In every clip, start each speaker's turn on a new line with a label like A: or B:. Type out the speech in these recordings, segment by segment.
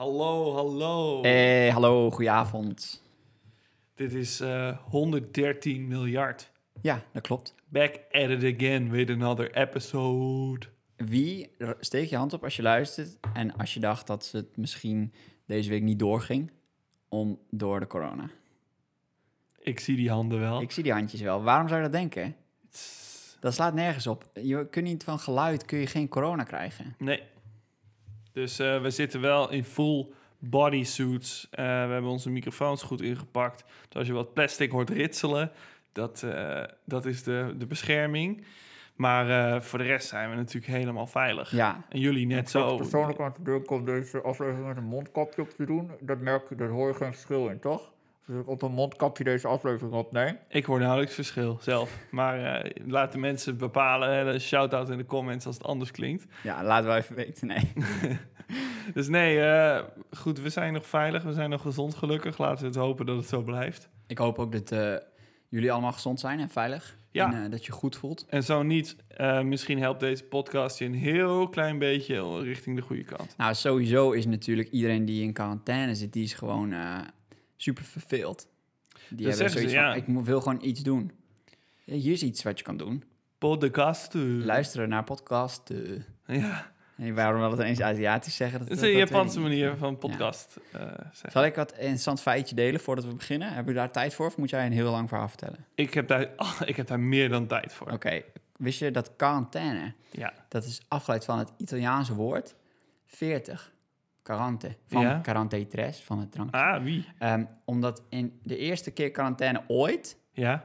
A: Hallo, hallo.
B: Hey, Eh, hallo, goedenavond.
A: Dit is eh, 113 miljard.
B: Ja, dat klopt.
A: Back at it again with another episode.
B: Wie r- steek je hand op als je luistert en als je dacht dat ze het misschien deze week niet doorging om door de corona?
A: Ik zie die handen wel.
B: Ik zie die handjes wel. Waarom zou je dat denken?
A: Tss,
B: Dat slaat nergens op. Je kunt niet van geluid kun je geen corona krijgen.
A: Nee. Dus eh, we zitten wel in full bodysuits. Eh we hebben onze microfoons goed ingepakt. Dus als je wat plastic hoort ritselen, dat, eh, dat is de, de bescherming. Maar eh, voor de rest zijn we natuurlijk helemaal veilig.
B: Ja,
A: En jullie net
C: Ik zat
A: zo.
C: persoonlijk aan te denken om deze aflevering met een mondkapje op te doen. Dat merk je, daar hoor je geen verschil in, toch? Dus ik op een mondkapje deze aflevering opneem.
A: Ik hoor nauwelijks verschil zelf. Maar eh, laat de mensen bepalen. Hè, een shout-out in de comments als het anders klinkt.
B: ja laten we even weten. Nee.
A: Dus nee, eh, goed, we zijn nog veilig. We zijn nog gezond gelukkig. Laten we het hopen dat het zo blijft.
B: Ik hoop ook dat eh, jullie allemaal gezond zijn en veilig.
A: Ja.
B: En eh, dat je goed voelt.
A: En zo niet, eh, misschien helpt deze podcast je een heel klein beetje richting de goede kant.
B: Nou, sowieso is natuurlijk iedereen die in quarantaine zit, die is gewoon eh, super verveeld. Die hebben
A: zeggen ze,
B: zoiets
A: ja.
B: van, ik mo- wil gewoon iets doen. Ja, hier is iets wat je kan doen.
A: Podcast. eh.
B: Luisteren naar podcast. eh.
A: Ja,
B: Hey, waarom wil het eens Aziatisch zeggen?
A: het is
B: dat
A: een
B: weet ik
A: Japanse
B: niet.
A: manier van podcast eh, zeggen.
B: Zal ik wat interessant feitje delen voordat we beginnen? Heb je daar tijd voor of moet jij een heel lang verhaal vertellen?
A: Ik heb, daar, ik heb daar meer dan tijd voor.
B: Oké, wist je dat quarantaine,
A: Ja.
B: dat is afgeleid van het Italiaanse woord 40. Quarante, van
A: Ja.
B: quarante tres, van het drank.
A: Ah, wie?
B: Ehm, omdat in de eerste keer quarantaine ooit,
A: Ja.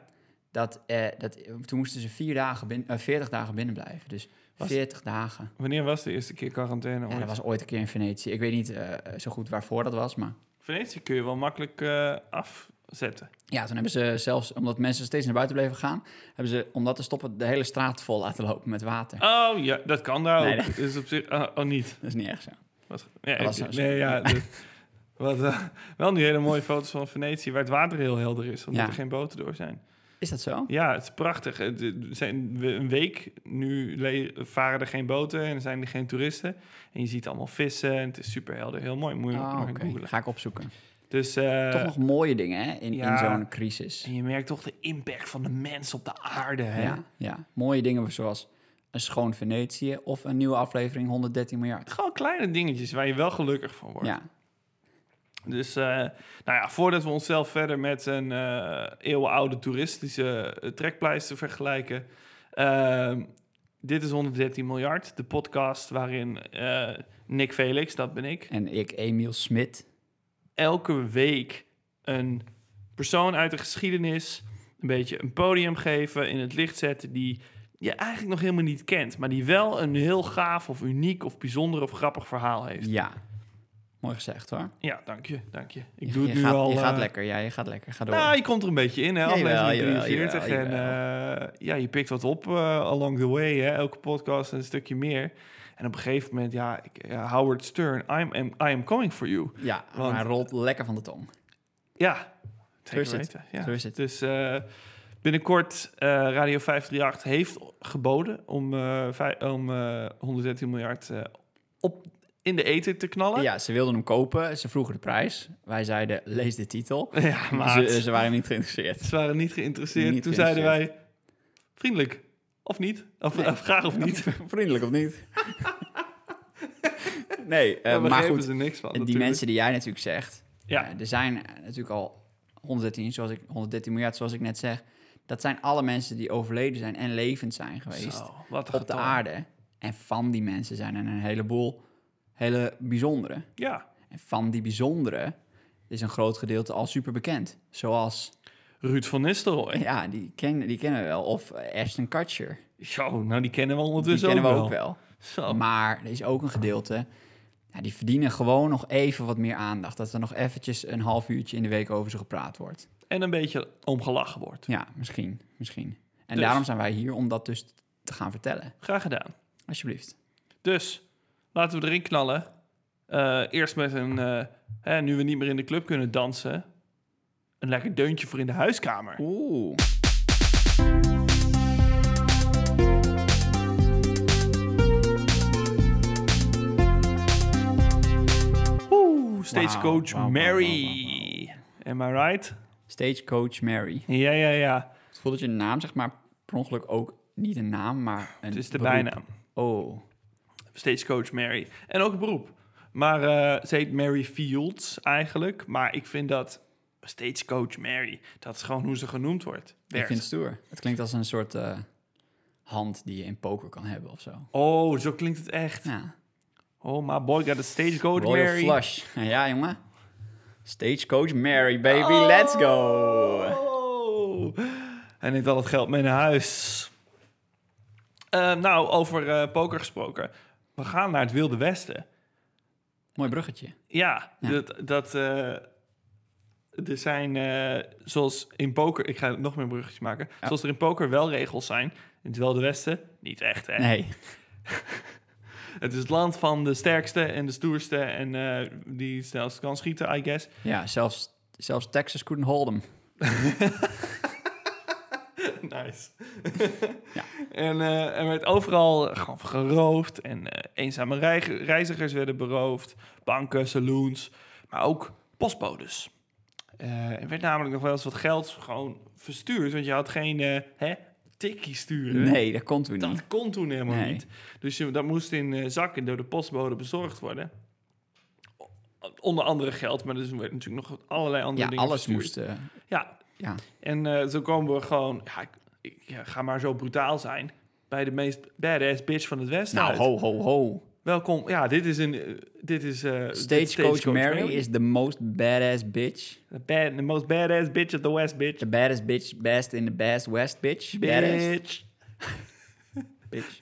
B: dat, eh, dat, toen moesten ze vier dagen bin- eh, 40 dagen binnen blijven. Dus
A: Was-
B: 40 dagen.
A: Wanneer was de eerste keer quarantaine?
B: Ja,
A: ooit?
B: dat was ooit een keer in Venetië. Ik weet niet eh, zo goed waarvoor dat was, maar...
A: Venetië kun je wel makkelijk eh, afzetten.
B: Ja, toen hebben ze zelfs, omdat mensen steeds naar buiten bleven gaan... hebben ze, om dat te stoppen, de hele straat vol laten lopen met water.
A: Oh ja, dat kan daar ook.
B: Nee, dat-
A: Is op zich. Oh, oh, niet.
B: Dat is niet erg zo.
A: Wat- ja,
B: Dat was
A: ik-
B: nou zo.
A: nee, ja. dat- wat, eh, wel nu hele mooie foto's van Venetië, waar het water heel helder is, omdat
B: Ja.
A: er geen boten door zijn.
B: Is dat zo?
A: Ja, het is prachtig. Het- het zijn we een week nu le- varen er geen boten en zijn er geen toeristen. En je ziet allemaal vissen en het is super helder. Heel mooi. Moet je
B: Ah,
A: maar
B: oké.
A: googlen.
B: Ga ik opzoeken.
A: Dus, eh,
B: Toch nog mooie dingen, hè, in,
A: ja.
B: in zo'n crisis.
A: En je merkt toch de impact van de mens op de aarde. Hè?
B: Ja, ja, mooie dingen zoals een schoon Venetië... of een nieuwe aflevering 113 miljard.
A: Gewoon kleine dingetjes waar je wel gelukkig van wordt.
B: Ja,
A: Dus eh, nou ja, voordat we onszelf verder met een eh eeuwenoude toeristische eh, trekpleister vergelijken. ehm, dit is 113 miljard, de podcast waarin eh, Nick Felix, dat ben ik,
B: en ik, Emiel Smit...
A: elke week een persoon uit de geschiedenis een beetje een podium geven, in het licht zetten die je eigenlijk nog helemaal niet kent, maar die wel een heel gaaf of uniek of bijzonder of grappig verhaal heeft.
B: Ja. Mooi gezegd hoor.
A: Ja, dank je, dank je. Ik
B: je,
A: doe het
B: je
A: nu
B: gaat,
A: al.
B: Je gaat
A: eh,
B: lekker, ja, je gaat lekker. Ga door.
A: Nou, je komt er een beetje in, hè?
B: Jawel,
A: Aflevering
B: jawel,
A: 43.
B: jawel,
A: En eh, ja, je pikt wat op eh, along the way, hè? Elke podcast een stukje meer. En op een gegeven moment, ja, ik, ja, Howard Stern, I'm, I'm, I am coming for you.
B: ja,
A: want-
B: maar hij rolt lekker van de tong.
A: Ja, zeker
B: is het.
A: weten, Ja.
B: Zo is het.
A: Dus eh, binnenkort, eh, Radio 538 heeft geboden om, eh, vij- om eh, 113 miljard eh, op, in de eten te knallen.
B: Ja, ze wilden hem kopen. Ze vroegen de prijs. Wij zeiden, lees de titel.
A: ja maat.
B: Ze, ze waren niet geïnteresseerd.
A: Ze waren niet geïnteresseerd.
B: Niet
A: Toen zeiden wij, vriendelijk of niet? Of,
B: Nee.
A: of graag of niet?
B: Vriendelijk of niet? nee, eh,
A: Daar
B: maar
A: begrepen
B: goed.
A: ze niks van.
B: Die
A: natuurlijk.
B: mensen die jij natuurlijk zegt.
A: Ja.
B: eh, er zijn eh, natuurlijk al 113, zoals ik, 113 miljard, zoals ik net zeg. Dat zijn alle mensen die overleden zijn en levend zijn geweest.
A: Zo, wat een
B: op de
A: getal.
B: aarde. En van die mensen zijn er een heleboel hele bijzondere.
A: Ja.
B: En van die bijzondere is een groot gedeelte al super bekend. Zoals,
A: Ruud van Nistelrooy.
B: ja, die, ken, die kennen we wel. Of eh, Ashton Kutcher.
A: Zo, nou die kennen we
B: Die
A: ondertussen
B: kennen we
A: ook,
B: ook
A: wel.
B: wel.
A: Zo.
B: Maar er is ook een gedeelte, ja, die verdienen gewoon nog even wat meer aandacht. Dat er nog eventjes een half uurtje in de week over ze gepraat wordt.
A: En een beetje omgelachen wordt.
B: Ja, misschien, misschien. En
A: Dus.
B: daarom zijn wij hier om dat dus te gaan vertellen.
A: Graag gedaan.
B: Alsjeblieft.
A: Dus, laten we erin knallen. Eh, eerst met een, eh, hè, nu we niet meer in de club kunnen dansen, een lekker deuntje voor in de huiskamer.
B: Oeh.
A: Oeh. Stagecoach
B: wauw, wauw,
A: Mary.
B: wauw,
A: Am I right?
B: Stagecoach Mary.
A: Ja, ja, ja.
B: Het voelt dat je naam, zeg maar, per ongeluk ook niet een naam, maar een
A: Het is de
B: beroep.
A: bijnaam.
B: Oh,
A: Stagecoach Mary. En ook een beroep. Maar eh, ze heet Mary Fields eigenlijk. Maar ik vind dat Stagecoach Mary, dat is gewoon hoe ze genoemd wordt.
B: ik
A: Werd.
B: vind het stoer. Het klinkt als een soort eh, hand die je in poker kan hebben of zo.
A: Oh, zo klinkt het echt.
B: Ja.
A: Oh, my boy got a Stagecoach
B: Royal
A: Mary.
B: Flush. Ja, jongen. Stagecoach Mary, baby, let's go.
A: Oh. Hij neemt al het geld mee naar huis. Eh, nou, over eh, poker gesproken. We gaan naar het Wilde Westen.
B: Mooi bruggetje.
A: Ja,
B: Ja.
A: dat. dat eh, er zijn, eh, zoals in poker, ik ga nog meer bruggetjes maken.
B: Ja.
A: Zoals er in poker wel regels zijn, in het Wilde Westen niet echt. Hè?
B: Nee,
A: Het is het land van de sterkste en de stoerste en eh, die het snelst kan schieten, I guess.
B: ja, zelfs, zelfs Texas couldn't hold him.
A: Nice.
B: Ja.
A: En eh, er werd overal gewoon geroofd. En eh, eenzame rei- reizigers werden beroofd. Banken, saloons. Maar ook postbodes. Eh, er werd namelijk nog wel eens wat geld gewoon verstuurd. Want je had geen eh, hè, tikkie sturen.
B: Nee, dat kon toen niet.
A: Dat kon toen helemaal
B: Nee.
A: niet. Dus je- dat moest in eh, zakken door de postbode bezorgd worden. O- Onder andere geld, maar dus er werd natuurlijk nog allerlei andere
B: Ja,
A: dingen
B: alles
A: verstuurd.
B: moest... eh,
A: Ja.
B: Ja.
A: En eh, zo komen we gewoon... Ja, ik, ik- ja, ga maar zo brutaal zijn. Bij de meest badass bitch van het Westen
B: nou,
A: uit.
B: ho, ho, ho.
A: Welkom. Ja, dit is een... eh, dit is... eh, dit is
B: Stagecoach Mary
A: Mary.
B: is the most badass bitch.
A: The, bad, the most badass bitch of the West, bitch.
B: The baddest bitch, best in the best west bitch. Badass
A: Bitch.
B: bitch.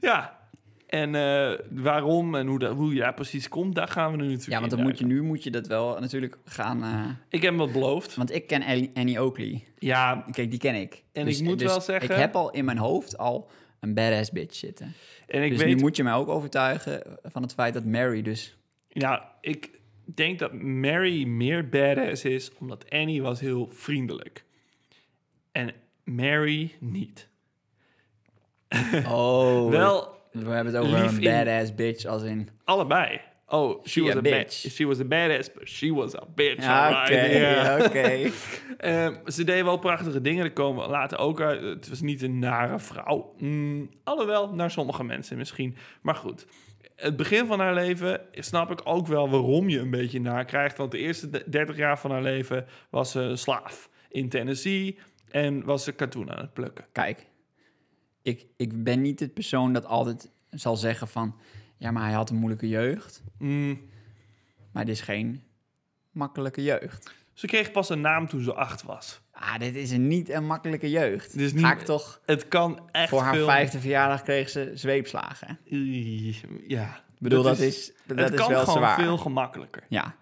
A: ja. En eh, waarom en hoe, dat, hoe je daar precies komt, daar gaan we nu natuurlijk
B: Ja, want dan
A: in
B: moet je,
A: duiken.
B: nu moet je dat wel natuurlijk gaan... eh,
A: Ik heb hem wat beloofd.
B: want ik ken Ellie- Annie Oakley.
A: Ja,
B: Kijk, die ken ik. Dus
A: En ik moet wel zeggen-
B: Ik heb al in mijn hoofd al een badass bitch zitten.
A: en ik
B: dus
A: weet...
B: nu moet je mij ook overtuigen van het feit dat Mary dus...
A: Nou, ik denk dat Mary meer badass is, omdat Annie was heel vriendelijk. En Mary niet.
B: Oh,
A: Wel,
B: we hebben het over
A: lief
B: een
A: in-
B: badass bitch als in...
A: allebei. Oh, she
B: She
A: was
B: a
A: a, bitch.
B: bitch.
A: She was a badass, but she was a bitch.
B: Ja,
A: alright,
B: oké,
A: yeah.
B: oké.
A: Ehm, ze deed wel prachtige dingen. Er komen later ook uit. Het was niet een nare vrouw. Mm, alhoewel, naar sommige mensen misschien. Maar goed. Het begin van haar leven snap ik ook wel waarom je een beetje naar krijgt. Want de eerste de- 30 jaar van haar leven was ze een slaaf in Tennessee. En was ze katoen aan het plukken.
B: Kijk, ik, ik ben niet het persoon dat altijd zal zeggen van... Ja, maar hij had een moeilijke jeugd.
A: Mm,
B: Maar dit is geen makkelijke jeugd.
A: Ze kreeg pas een naam toen ze acht was.
B: Ah, dit is een, niet een makkelijke jeugd.
A: Dit is
B: Ga
A: niet-
B: ik toch...
A: Het kan echt
B: Voor haar
A: veel...
B: vijfde verjaardag kreeg ze zweepslagen. Ik
A: Ie, Ja.
B: bedoel, dat, is, dat
A: het
B: is
A: kan
B: wel
A: gewoon
B: zwaar.
A: veel gemakkelijker.
B: Ja,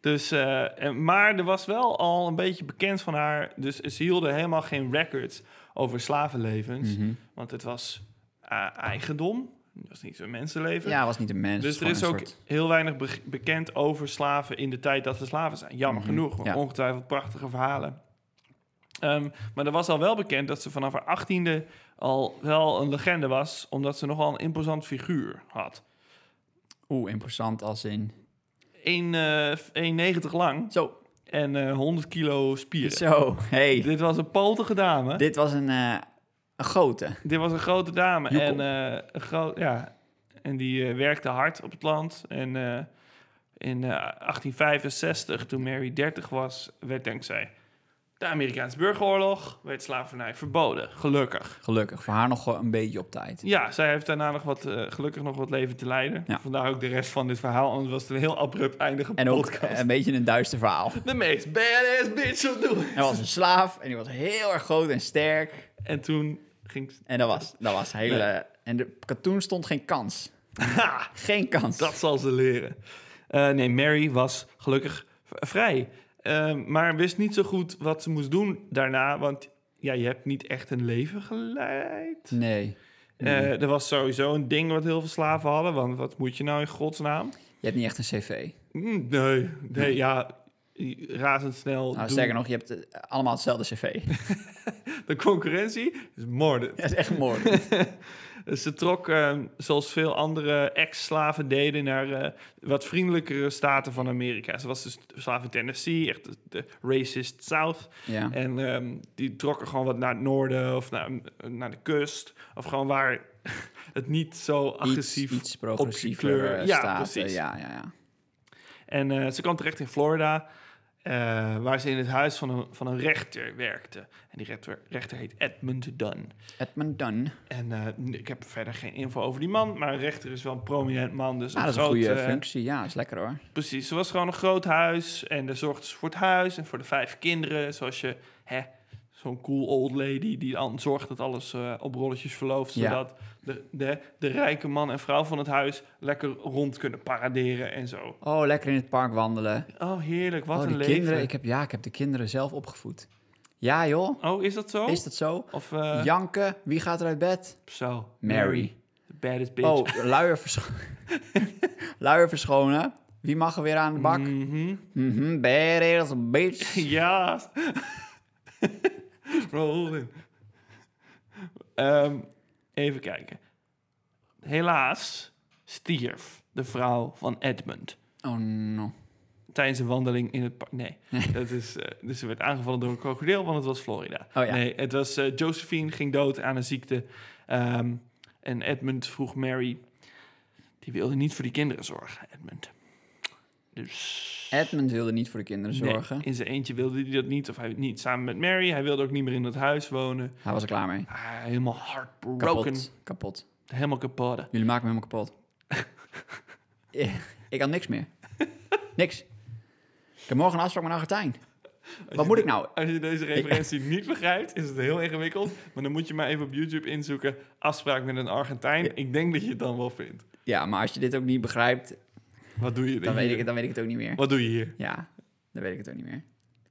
A: Dus, eh, en- maar er was wel al een beetje bekend van haar. Dus ze hielden helemaal geen records over slavenlevens.
B: Mhm.
A: Want het was eh, eigendom. Het was niet een mensenleven.
B: ja, was niet een mens.
A: dus er
B: gewoon
A: is
B: een
A: ook
B: soort-
A: heel weinig be- bekend over slaven in de tijd dat ze slaven zijn. Jammer
B: Mhm,
A: genoeg. want
B: ja.
A: Ongetwijfeld prachtige verhalen. Ehm, maar er was al wel bekend dat ze vanaf haar achttiende al wel een legende was. Omdat ze nogal een imposant figuur had.
B: Oeh, imposant als in...
A: 1, eh 1,90 lang
B: Zo,
A: en eh 100 kilo spieren.
B: zo, hey.
A: Dit was een potige dame. Dit,
B: Dit was een, eh een grote.
A: was een grote dame.
B: Joekel.
A: En, eh, een groot, ja. en die eh, werkte hard op het land. En eh, in eh, 1865, toen Mary 30 was, werd dankzij de Amerikaanse burgeroorlog werd slavernij verboden. Gelukkig.
B: Gelukkig, voor haar nog wel een beetje op tijd.
A: Ja, zij heeft daarna nog wat, eh, gelukkig nog wat leven te leiden.
B: Ja.
A: Vandaar ook de rest van dit verhaal. Anders was het een heel abrupt eindige
B: En ook eh,
A: podcast.
B: een beetje een duister verhaal.
A: de meest badass bitch op doen.
B: Hij was een slaaf en die was heel erg groot en sterk.
A: En toen ging ze-
B: En dat was, dat was hele... En de katoen stond geen kans.
A: Ha!
B: Geen kans.
A: Dat zal ze leren. Eh, nee, Mary was gelukkig v- vrij. Eh, maar wist niet zo goed wat ze moest doen daarna. Want ja, je hebt niet echt een leven geleid.
B: Nee.
A: Eh, er was sowieso een ding wat heel veel slaven hadden. Want wat moet je nou in godsnaam?
B: Je hebt niet echt een cv.
A: Mm, nee, nee, ja, i- razendsnel.
B: Nou,
A: doen.
B: sterker nog, je hebt eh, allemaal hetzelfde cv.
A: De concurrentie is moorden.
B: dat is echt moord.
A: Ze trok, eh, zoals veel andere ex-slaven deden, naar eh, wat vriendelijkere staten van Amerika. Ze was dus slaaf in Tennessee, echt de, de racist South.
B: Ja.
A: En ehm, die trokken gewoon wat naar het noorden of naar, eh, naar de kust. Of gewoon waar het niet zo agressief...
B: Iets, iets progressiever
A: kleur.
B: eh,
A: Ja,
B: staten.
A: precies.
B: Ja, ja, ja.
A: En eh, ze kwam terecht in Florida, eh, waar ze in het huis van een, van een rechter werkte. En die rechter, rechter heet Edmund Dunn.
B: Edmund Dunn.
A: En eh, n- ik heb verder geen info over die man, maar een rechter is wel een prominent man. Dus
B: Ah, dat is een
A: groot,
B: goede
A: eh,
B: functie. Ja, is lekker hoor.
A: Precies, ze was gewoon een groot huis en daar zorgde ze voor het huis en voor de vijf kinderen. Zoals je, hè, zo'n cool old lady die dan zorgt dat alles eh, op rolletjes verlooft.
B: Ja.
A: Zodat de, de, de rijke man en vrouw van het huis lekker rond kunnen paraderen en zo.
B: Oh, lekker in het park wandelen.
A: Oh, heerlijk, wat
B: oh, die
A: een leven.
B: kinderen. Ik heb, ja, ik heb de kinderen zelf opgevoed. Ja, joh.
A: Oh, is dat zo?
B: Is dat zo?
A: Of eh,
B: Janken, wie gaat er uit bed?
A: zo.
B: Mary.
A: The baddest bitch.
B: Oh, luier, versch- luier verschonen. Wie mag er weer aan de bak? Mhm,
A: Mhm.
B: badass bitch.
A: Ja. Rolling. Ehm, even kijken. Helaas stierf de vrouw van Edmund
B: Oh, no.
A: tijdens een wandeling in het park. Nee, dat is, eh, dus ze werd aangevallen door een krokodil, want het was Florida.
B: Oh, ja.
A: Nee, het was eh, Josephine ging dood aan een ziekte. Ehm, en Edmund vroeg Mary, die wilde niet voor die kinderen zorgen, Edmund. Dus
B: Edmund wilde niet voor de kinderen
A: Nee,
B: zorgen.
A: in zijn eentje wilde hij dat niet. Of hij niet samen met Mary. Hij wilde ook niet meer in dat huis wonen.
B: Hij was er klaar mee.
A: Ah, helemaal heartbroken.
B: Kapot. Kapot.
A: Helemaal kapot.
B: Jullie maken me helemaal kapot. Eh, ik had niks meer. Niks. Ik heb morgen een afspraak met Argentijn. Wat moet ik nou?
A: Als je deze referentie niet begrijpt, is het heel ingewikkeld. Maar dan moet je maar even op YouTube inzoeken. Afspraak met een Argentijn. Ik denk dat je het dan wel vindt.
B: Ja, maar als je dit ook niet begrijpt,
A: Wat doe je
B: dan
A: hier?
B: weet ik het, dan weet ik het ook niet meer.
A: Wat doe je hier?
B: Ja, dan weet ik het ook niet meer.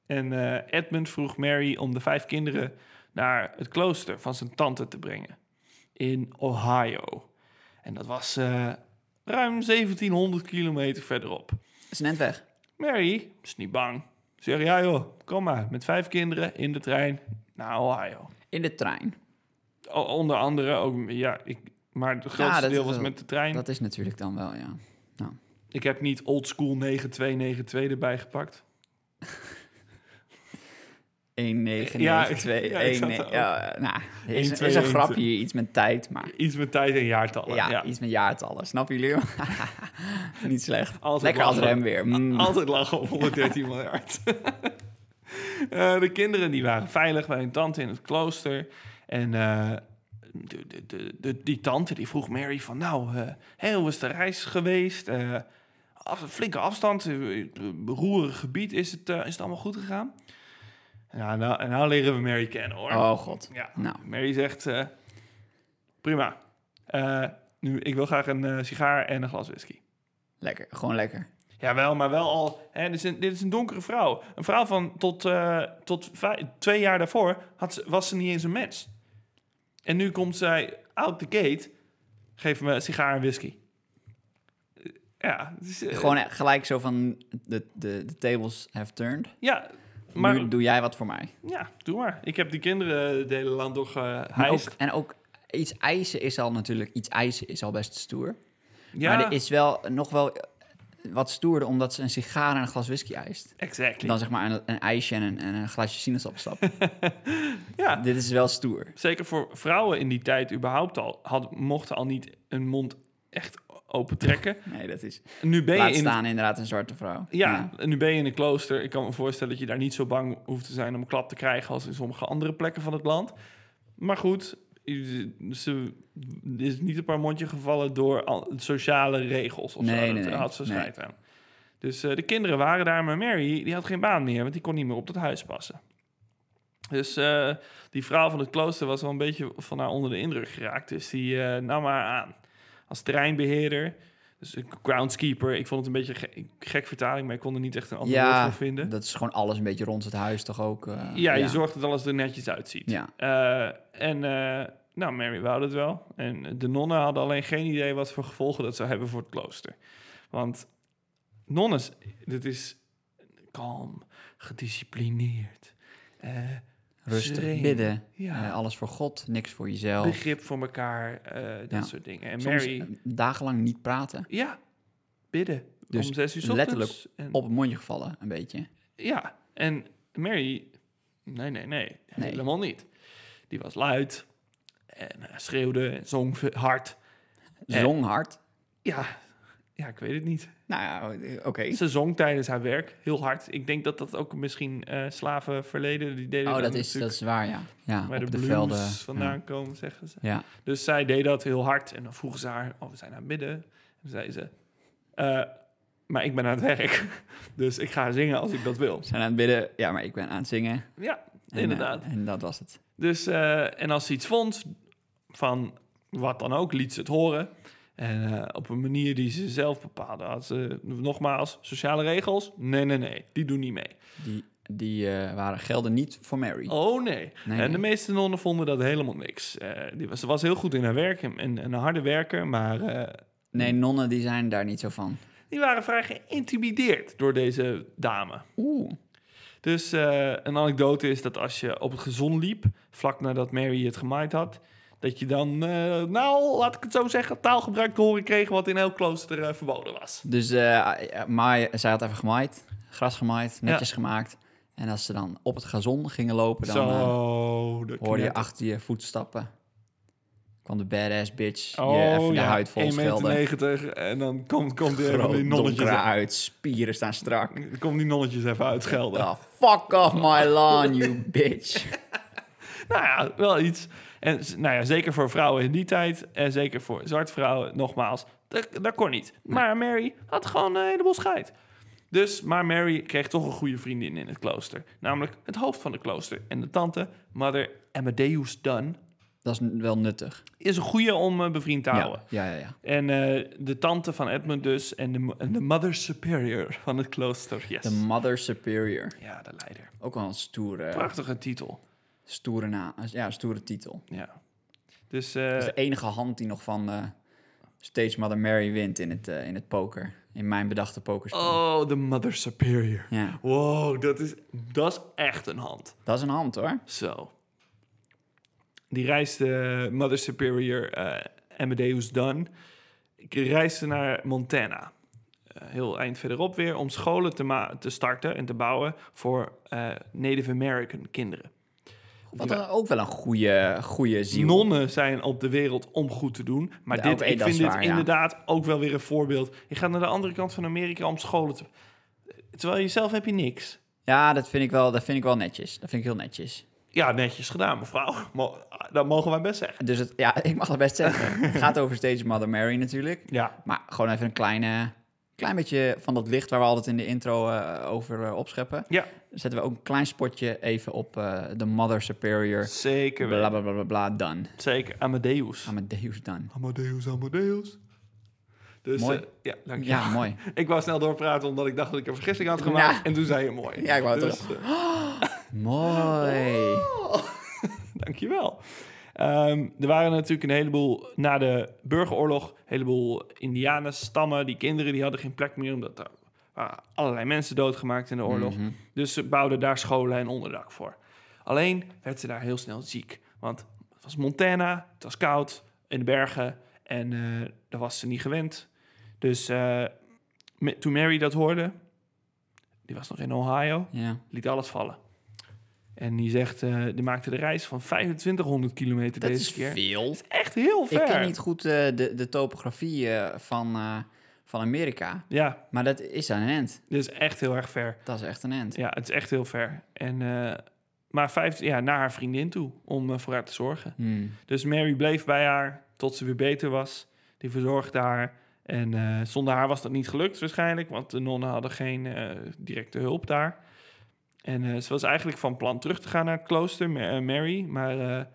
A: En eh, Edmund vroeg Mary om de vijf kinderen naar het klooster van zijn tante te brengen in Ohio. En dat was eh, ruim 1700 kilometer verderop.
B: Het is een end weg.
A: Mary is niet bang. Ze Zeg ja joh, kom maar met vijf kinderen in de trein naar Ohio.
B: In de trein.
A: O- onder andere ook, ja, ik, maar het grootste
B: dat
A: deel
B: is
A: was
B: wel-
A: met de trein.
B: Dat is natuurlijk dan wel, ja.
A: Ik heb niet old school 9292 erbij gepakt.
B: 1, 9,
A: Ja,
B: 9, 2,
A: ja,
B: 1,
A: ik zat er ook.
B: ja, nou, er is,
A: 1,
B: er is een
A: 2,
B: grapje hier, iets met tijd, maar
A: Iets met tijd en jaartallen.
B: ja,
A: Oh, ja.
B: iets met jaartallen. Snappen jullie? Niet slecht.
A: Altijd
B: Lekker als
A: lachen.
B: rem weer. Mm.
A: Altijd lachen op 113 miljard. Eh, de kinderen die waren veilig bij hun tante in het klooster. En eh, de, de, de, de- die tante die vroeg Mary van... Nou, eh hè, hoe is de reis geweest? Eh, af- flinke afstand, eh, eh, roerig gebied. Is het, eh, is het allemaal goed gegaan? Ja, nou, en nou leren we Mary kennen, hoor.
B: Oh god.
A: Ja.
B: Nou,
A: Mary zegt... eh, prima. Eh, nu, ik wil graag een eh, sigaar en een glas whisky.
B: lekker. Gewoon lekker.
A: Jawel, maar wel al. Hè, dit, is een, dit is een donkere vrouw. Een vrouw van tot, eh, tot vij- twee jaar daarvoor had ze, was ze niet eens een mens. En nu komt zij out the gate. Geef me een sigaar en whisky. Eh, Ja, het is, eh,
B: Gewoon eh, gelijk zo van de, de, de tables have turned.
A: ja, maar
B: nu doe jij wat voor mij.
A: ja, doe maar. Ik heb die kinderen het hele land eh, door
B: Maar ook,
A: geheist.
B: en ook iets eisen is al natuurlijk, iets eisen is al best stoer.
A: Ja,
B: Maar er is wel nog wel eh, wat stoerder omdat ze een sigaar en een glas whisky eist.
A: exactly.
B: Dan zeg maar een, een ijsje en een, en een glasje sinaasappelsap.
A: Ja.
B: Dit is wel stoer.
A: Zeker voor vrouwen in die tijd überhaupt al. Had, mochten al niet een mond echt open trekken.
B: Nee, dat is...
A: Nu ben
B: Laat
A: je in
B: staan inderdaad een zwarte vrouw.
A: Ja, en nu ben je in een klooster. Ik kan me voorstellen dat je daar niet zo bang hoeft te zijn om een klap te krijgen als in sommige andere plekken van het land. Maar goed, ze is niet op haar mondje gevallen door al- sociale regels of
B: Nee,
A: zo.
B: nee,
A: dat
B: nee.
A: had ze
B: Nee.
A: scheid aan. Dus eh, de kinderen waren daar, maar Mary die had geen baan meer, want die kon niet meer op dat huis passen. Dus eh, die vrouw van het klooster was wel een beetje van haar onder de indruk geraakt. Dus die eh, nam haar aan als terreinbeheerder. Dus een groundskeeper. Ik vond het een beetje een ge- gek vertaling, maar ik kon er niet echt een ander woord
B: ja
A: voor vinden.
B: dat is gewoon alles een beetje rond het huis toch ook. eh,
A: ja, je zorgt dat alles er netjes uitziet.
B: Ja.
A: Eh, en eh, nou, Mary wou dat wel. En de nonnen hadden alleen geen idee wat voor gevolgen dat zou hebben voor het klooster. Want nonnen, dit is kalm, gedisciplineerd, eh,
B: Rustig
A: Sereen.
B: bidden.
A: Ja.
B: eh, alles voor God, niks voor jezelf.
A: Begrip voor elkaar, eh, dat
B: Ja.
A: soort dingen. En
B: Soms eh,
A: Mary,
B: dagenlang niet praten.
A: ja, bidden.
B: Dus
A: om zes uur 's
B: letterlijk
A: ochtends. En,
B: Op het mondje gevallen, een beetje.
A: Ja, en Mary, nee, nee, nee,
B: Nee.
A: helemaal niet. Die was luid en eh, schreeuwde en zong ve- hard. Eh.
B: Zong hard.
A: Ja, ja, ik weet het niet.
B: Nou ja, oké.
A: Ze zong tijdens haar werk heel hard. Ik denk dat dat ook misschien eh slaven verleden, die deden
B: Oh, dat
A: dan
B: is, dat
A: natuurlijk
B: is waar, ja. Ja,
A: waar
B: op
A: de
B: de,
A: blues
B: velden.
A: vandaan komen, zeggen ze.
B: Ja. ja.
A: Dus zij deed dat heel hard. En dan vroegen ze haar, oh, we zijn aan het bidden. En toen zei ze, "Eh, maar ik ben aan het werk. Dus ik ga zingen als ik dat wil.
B: We zijn aan het bidden. Ja, maar ik ben aan het zingen. En,
A: Ja,
B: eh,
A: inderdaad.
B: En, dat was het.
A: Dus, eh, en als ze iets vond, van wat dan ook, liet ze het horen. En eh, op een manier die ze zelf bepaalde. Had ze, nogmaals, sociale regels? Nee, nee, nee, die doen niet mee.
B: Die, die eh, waren, gelden niet voor Mary.
A: Oh nee.
B: Nee,
A: en de
B: nee.
A: meeste nonnen vonden dat helemaal niks. Eh, die was, ze was heel goed in haar werk en, en een harde werker, maar eh,
B: Nee, nonnen die zijn daar niet zo van.
A: die waren vrij geïntimideerd door deze dame.
B: Oeh.
A: Dus eh, een anekdote is dat als je op het gezon liep, vlak nadat Mary het gemaaid had, dat je dan, eh, nou, laat ik het zo zeggen, taalgebruik te horen kreeg wat in elk klooster eh, verboden was.
B: Dus eh, eh, maaien, zij had even gemaaid. Gras gemaaid, netjes gemaakt. En als ze dan op het gazon gingen lopen, dan eh,
A: zo, de
B: hoorde je
A: knetter.
B: achter je voetstappen. kwam de badass bitch
A: Oh,
B: je even je
A: ja,
B: huid vol
A: 1,90 meter
B: schelden.
A: en dan komt, komt die, even die
B: Groot,
A: nonnetjes
B: donker
A: uit.
B: uit, spieren staan strak.
A: Komt die nonnetjes even uitschelden.
B: Oh, fuck off my lawn, you bitch.
A: Nou ja, wel iets. En z- nou ja, zeker voor vrouwen in die tijd. En zeker voor zwartvrouwen, nogmaals. Dat, dat kon niet. Maar Mary had gewoon een heleboel scheid. Dus, maar Mary kreeg toch een goede vriendin in het klooster. Namelijk het hoofd van het klooster. En de tante, Mother Amadeus Dunn,
B: Dat is n- wel nuttig.
A: is een goede om eh, bevriend te houden.
B: Ja, ja, ja. ja.
A: En eh, de tante van Edmund dus. En de, mo- en de Mother Superior van het klooster. Yes.
B: The Mother Superior.
A: ja, de leider.
B: Ook wel een stoere,
A: Prachtige titel.
B: stoere, na, ja, stoere titel.
A: Ja. Dus,
B: Dat
A: eh,
B: is de enige hand die nog van eh Stage Mother Mary wint in het, eh, in het poker. In mijn bedachte pokerspel.
A: oh, de Mother Superior.
B: Ja,
A: Wow, dat is, dat is echt een hand.
B: dat is een hand hoor.
A: Zo. Die reisde, Mother Superior eh Amadeus Dunn, ik reisde naar Montana. Eh, heel eind verderop weer, om scholen te, ma- te starten en te bouwen voor eh, Native American kinderen.
B: Wat dan ook wel een goede, goede ziel.
A: Nonnen zijn op de wereld om goed te doen. Maar
B: Ja,
A: dit,
B: oké,
A: ik
B: dat
A: vind
B: is
A: dit
B: waar, ja.
A: inderdaad ook wel weer een voorbeeld. Je gaat naar de andere kant van Amerika om scholen te... Terwijl jezelf heb je niks.
B: Ja, dat vind, ik wel, dat vind ik wel netjes. Dat vind ik heel netjes.
A: Ja, netjes gedaan, mevrouw. Mo- Dat mogen wij best zeggen.
B: Dus het, ja, ik mag het best zeggen. het gaat over Stage Mother Mary natuurlijk.
A: Ja,
B: Maar gewoon even een kleine, klein beetje van dat licht waar we altijd in de intro eh, over eh, opscheppen.
A: ja
B: Zetten we ook een klein spotje even op eh de Mother Superior.
A: zeker
B: Bla
A: wel.
B: bla bla bla bla, done.
A: Zeker, Amadeus.
B: Amadeus done.
A: Amadeus, Amadeus. Dus,
B: Mooi.
A: eh, ja, dank je.
B: Ja, mooi.
A: Ik wou snel doorpraten omdat ik dacht dat ik een vergissing had gemaakt.
B: Nou.
A: En toen zei je mooi.
B: Ja, ik wou het
A: dus, eh,
B: Mooi.
A: Dankjewel. Ehm er waren natuurlijk een heleboel, na de burgeroorlog, een heleboel indianenstammen. Die kinderen die hadden geen plek meer, omdat er waren allerlei mensen doodgemaakt in de oorlog. Dus ze bouwden daar scholen en onderdak voor. Alleen werd ze daar heel snel ziek. Want het was Montana, het was koud, in de bergen. En eh daar was ze niet gewend. Dus eh, ma- toen Mary dat hoorde, die was nog in Ohio
B: Ja.
A: liet alles vallen. En die zegt, eh, die maakte de reis van 2500 kilometer
B: Dat
A: deze
B: is
A: keer.
B: veel.
A: Echt heel ver.
B: Ik ken niet goed eh, de, de topografie eh, van, eh, van Amerika.
A: Ja,
B: Maar dat is een end.
A: dit is echt heel erg ver.
B: Dat is echt een end.
A: Ja, het is echt heel ver. En, eh, maar vijf, ja, naar haar vriendin toe om eh, voor haar te zorgen.
B: Hmm.
A: Dus Mary bleef bij haar tot ze weer beter was. Die verzorgde haar. En eh, zonder haar was dat niet gelukt waarschijnlijk, want de nonnen hadden geen eh, directe hulp daar. En eh, ze was eigenlijk van plan terug te gaan naar het klooster, Ma- eh, Mary. Maar eh,